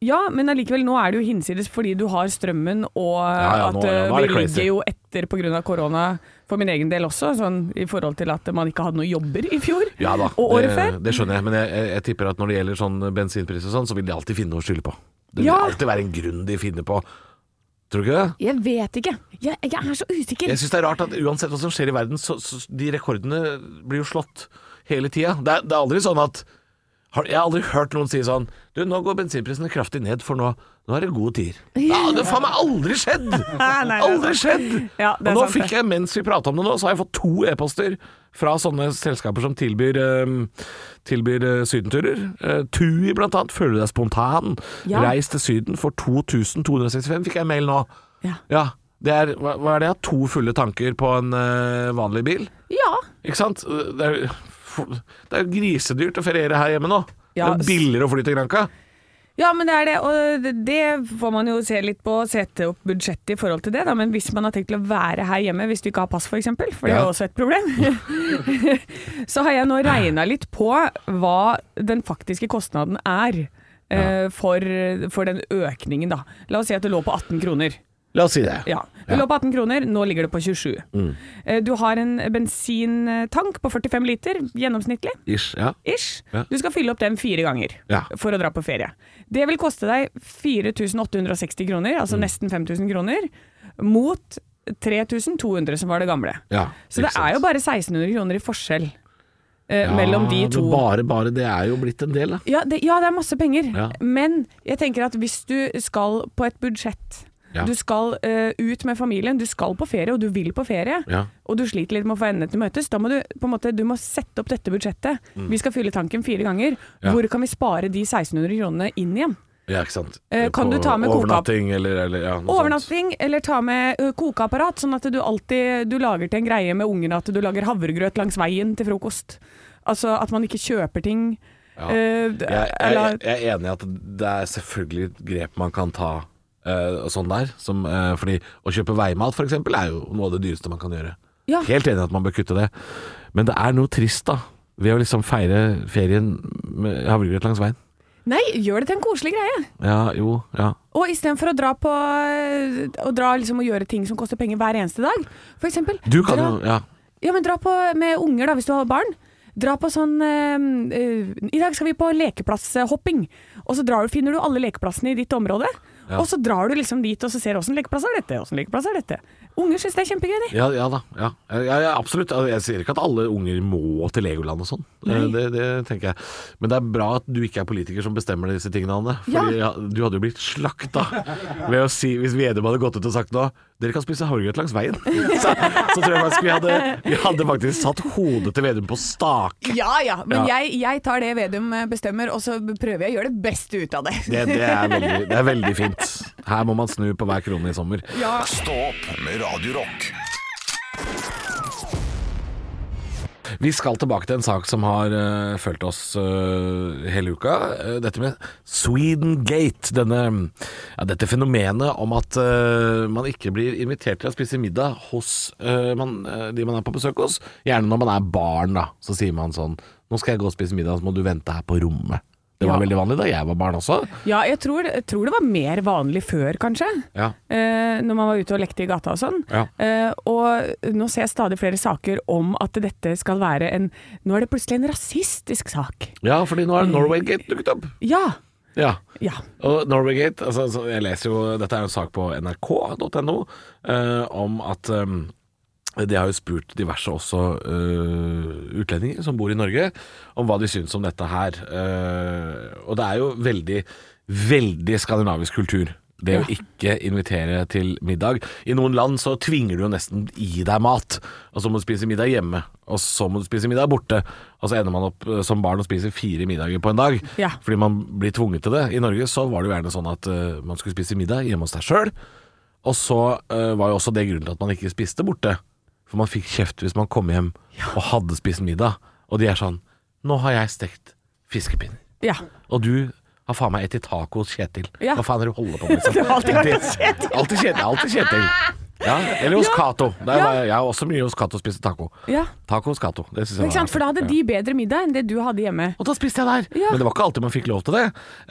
Ja, men allikevel, nå er det jo hinsides fordi du har strømmen, og ja, at nå- ja, eh, nå er vi det crazy. ligger jo etter pga. korona, for min egen del også, sånn i forhold til at man ikke hadde noen jobber i fjor. Ja da, og det, året før. det skjønner jeg. Men jeg, jeg, jeg tipper at når det gjelder sånn bensinpris og sånn, så vil de alltid finne noe å skylde på. Det vil Ja. alltid være en grunn de finner på. Tror du ikke det? Jeg vet ikke. Jeg, jeg er så usikker. Jeg syns det er rart at uansett hva som skjer i verden, så, så de rekordene blir jo slått hele tida. Det, er- det er aldri sånn at har, Jeg har aldri hørt noen si sånn Du, nå går bensinprisene kraftig ned, for nå, nå er det gode tider. Ja, det har faen meg aldri skjedd! Nei, nei, det er Aldri skjedd! Ja, Og det er nå sant, fikk jeg, mens vi prata om det nå, så har jeg fått to e-poster fra sånne selskaper som tilbyr, eh, tilbyr eh, sydenturer. Eh, Tui blant annet. Føler du deg spontan? Ja. Reis til Syden for 2265, fikk jeg mail nå. Ja. Ja, det er, hva, hva er det? To fulle tanker på en eh, vanlig bil? Ja. Ikke sant? Det er, det er jo grisedyrt å feriere her hjemme nå. Ja, det er billigere å fly til Granca. Ja, men det er det, og det- det får man jo se litt på, sette opp budsjettet i forhold til det, da. men hvis man har tenkt til å være her hjemme, hvis du ikke har pass f.eks., for, eksempel, for det er Ja. jo også et problem, så har jeg nå regna litt på hva den faktiske kostnaden er eh, for, for den økningen, da. La oss si at det lå på 18 kroner. La oss si det. Ja. Det lå på 18 kroner, nå ligger det på 27. Eh, Du har en bensintank på 45 liter, gjennomsnittlig. Ish. Ja. Ish. Ja. Du skal fylle opp den fire ganger Ja. for å dra på ferie. Det vil koste deg 4860 kroner, altså Mm. nesten 5000 kroner, mot 3200 som var det gamle. Ja, Så det ikke sant. er jo bare 1600 kroner i forskjell eh, Ja, mellom de men to. Bare, bare. Det er jo blitt en del, da. Ja det, ja, det er masse penger, Ja. men jeg tenker at hvis du skal på et budsjett Ja. Du skal eh, ut med familien, du skal på ferie, og du vil på ferie. Ja. Og du sliter litt med å få endene til å møtes. Da må du på en måte, du må sette opp dette budsjettet. Vi skal fylle tanken fire Mm. ganger. Ja. Hvor kan vi spare de 1600 kronene inn igjen? Ja, ikke sant. Eh, kan du ta med koka- Overnatting eller, eller ja, noe sånt. Overnatting, eller ta med ø, kokeapparat, sånn at du alltid du lager til en greie med ungene at du lager havregrøt langs veien til frokost. Altså at man ikke kjøper ting. Ja. eh, d- Jeg, jeg, eller- jeg er enig i at det er selvfølgelig et grep man kan ta eh, og sånn der. Som, eh, fordi å kjøpe veimat f.eks. er jo noe av det dyreste man kan gjøre. Ja. Helt enig i at man bør kutte det. Men det er noe trist, da. Ved å liksom feire ferien med havregrøt langs veien. Nei, gjør det til en koselig greie. Ja, jo, ja. Og istedenfor å dra på ø, Å dra liksom og gjøre ting som koster penger hver eneste dag. For eksempel Du kan dra, jo Ja. Ja, men dra på med unger, da, hvis du har barn. Dra på sånn eh, eh, I dag skal vi på lekeplasshopping. Og så drar du, finner du alle lekeplassene i ditt område. Og så drar du liksom dit og så ser åssen lekeplass er dette, åssen lekeplass er dette. Unger syns det er kjempegøy, de. Ja, ja da. Ja. Ja, ja, absolutt. Altså, Jeg sier ikke at alle unger må til Legoland og sånn. Det, det tenker jeg. Men det er bra at du ikke er politiker som bestemmer disse tingene, Anne. Fordi ja. du hadde jo blitt slakta ved å si, hvis Vedum hadde gått ut og sagt nå dere kan spise havregrøt langs veien. Så, så tror jeg faktisk vi hadde, vi hadde faktisk satt hodet til Vedum på stake. Ja ja, men Ja. Jeg, tar det Vedum bestemmer, og så prøver jeg å gjøre det beste ut av Det, det, er veldig, det er veldig fint. Her må man snu på hver krone i sommer. Stå opp med Radio Rock. Vi skal tilbake til en sak som har uh, fulgt oss eh, hele uka. Eh, dette med Swedengate. Denne, ja, dette fenomenet om at eh, man ikke blir invitert til å spise middag hos eh, man, eh, de man er på besøk hos. Gjerne når man er barn, da. Så sier man sånn Nå skal jeg gå og spise middag, så må du vente her på rommet. Det var Ja. veldig vanlig da jeg var barn også. Ja, jeg tror, jeg tror det var mer vanlig før, kanskje. Ja. Eh, når man var ute og lekte i gata og sånn. Ja. Eh, og nå ser jeg stadig flere saker om at dette skal være en Nå er det plutselig en rasistisk sak. Ja, fordi nå har Norway Gate dukket opp. Ja. Ja. Ja. Og Norway Gate, altså, så jeg leser jo Dette er jo en sak på nrk.no eh, om at eh, de har jo spurt diverse også eh, utlendinger som bor i Norge, om hva de syns om dette her. Eh, og det er jo veldig, veldig skandinavisk kultur. Det å ikke invitere til middag. I noen land så tvinger du jo nesten i deg mat. Og så må du spise middag hjemme, og så må du spise middag borte. Og så ender man opp eh, som barn og spiser fire middager på en dag. Ja. Fordi man blir tvunget til det. I Norge så var det jo gjerne sånn at eh, man skulle spise middag hjemme hos deg sjøl. Og så eh, var jo også det grunnen til at man ikke spiste borte. For man fikk kjeft hvis man kom hjem og hadde spist middag. Og de er sånn Nå har jeg stekt fiskepinner. ja. Og du har faen meg et i taco hos Kjetil. Ja. Hva faen er det du holder på med? liksom? Det har alltid vært Det- Alltid Kjetil. Alltid Kjetil. Ja, eller hos Cato. Der Ja. var jeg- Jeg har også mye hos Cato og spiste taco. ja. Taco hos Cato. Det synes jeg Ikke sant? For da hadde de bedre middag enn det du hadde hjemme. og da spiste jeg der. Ja. Men det var ikke alltid man fikk lov til det.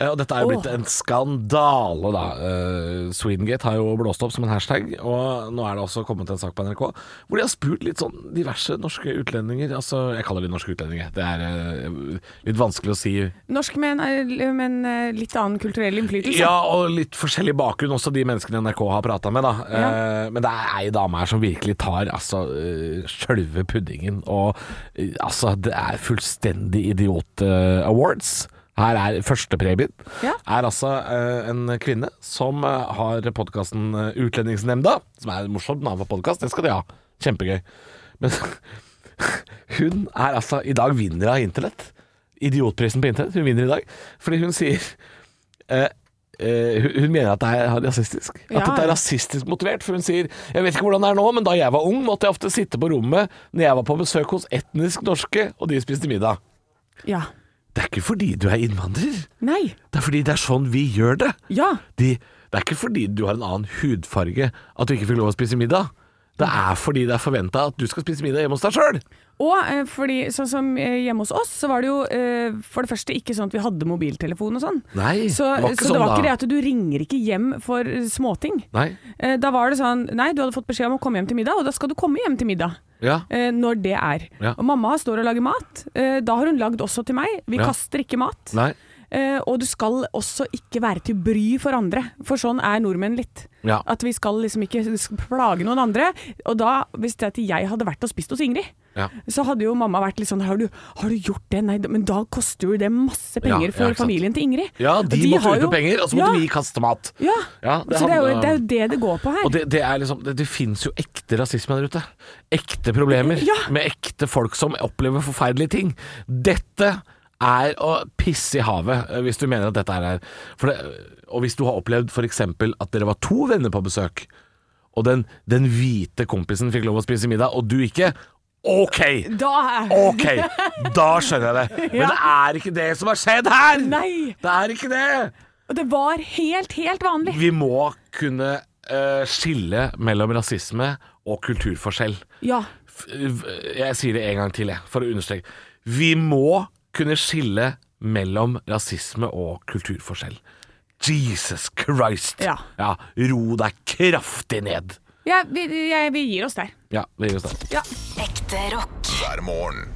Eh, Og dette er jo Åh. blitt en skandale, da. Eh, Swedengate har jo blåst opp som en hashtag, og nå er det også kommet en sak på NRK hvor de har spurt litt sånn diverse norske utlendinger Altså, jeg kaller de norske utlendinger. Det er eh, litt vanskelig å si. Norsk med en, med en eh, litt annen kulturell innflytelse. Ja, og litt forskjellig bakgrunn, også de menneskene NRK har prata med, da. Eh, Men det er ei dame her som virkelig tar altså eh, sjølve puddingen, og eh, altså Det er fullstendig idiot eh, awards. Her er førstepremien. Ja. Er altså eh, en kvinne som eh, har podkasten eh, Utlendingsnemnda, som er et morsomt navn på podkast, det skal de ha. Kjempegøy. Men hun er altså I dag vinner av internett. Idiotprisen på internett. Hun vinner i dag fordi hun sier eh, eh, hun- hun mener at det er rasistisk. Ja, At dette er ja. rasistisk motivert. For hun sier Jeg vet ikke hvordan det er nå, men da jeg var ung, måtte jeg ofte sitte på rommet når jeg var på besøk hos etnisk norske, og de spiste middag. Ja. Det er ikke fordi du er innvandrer. Nei. Det er fordi det er sånn vi gjør det. Ja. De, det er ikke fordi du har en annen hudfarge at du ikke fikk lov å spise middag. Det er fordi det er forventa at du skal spise middag hjemme hos deg sjøl. Og eh, fordi, sånn som eh, hjemme hos oss, så var det jo eh, for det første ikke sånn at vi hadde mobiltelefon og sånn. Nei, Så, det var ikke så det sånn var ikke det da. at du ringer ikke hjem for eh, småting. Nei. Eh, Da var det sånn Nei, du hadde fått beskjed om å komme hjem til middag, og da skal du komme hjem til middag. Ja. eh, Når det er. Ja. Og mamma står og lager mat. eh, Da har hun lagd også til meg. Vi Ja. kaster ikke mat. Nei. Eh, Og du skal også ikke være til bry for andre, for sånn er nordmenn litt. Ja. At vi skal liksom ikke plage noen andre. Og da, hvis det at jeg hadde vært og spist hos Ingrid, Ja. så hadde jo mamma vært litt sånn har du, har du gjort det? Nei, men da koster jo det masse Ja, penger ja, for ikke sant. familien til Ingrid. ja, Og de, måtte har ut jo- med penger, og så måtte ja, vi kaste mat. Ja, Ja, det så det er, jo, handler- det er jo det det går på her. Og det, det er liksom Det, det fins jo ekte rasisme der ute. Ekte problemer Ja. med ekte folk som opplever forferdelige ting. Dette er å pisse i havet, eh, hvis du mener at dette er her. For det, og hvis du har opplevd f.eks. at dere var to venner på besøk, og den, den hvite kompisen fikk lov å spise middag, og du ikke. OK! da er Ok, da skjønner jeg det. Men det er ikke det som har skjedd her! Nei. Det er ikke det! Og det var helt, helt vanlig. Vi må kunne eh, skille mellom rasisme og kulturforskjell. Ja. F- v- Jeg sier det en gang til, jeg, for å understreke. Vi må kunne skille mellom rasisme og kulturforskjell. Jesus Christ! Ja. ro deg kraftig ned. ja vi, jeg, vi gir oss der. Ja, det gir oss det. Ekte rock. hver morgen.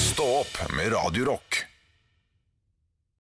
Stå opp med Radio Rock.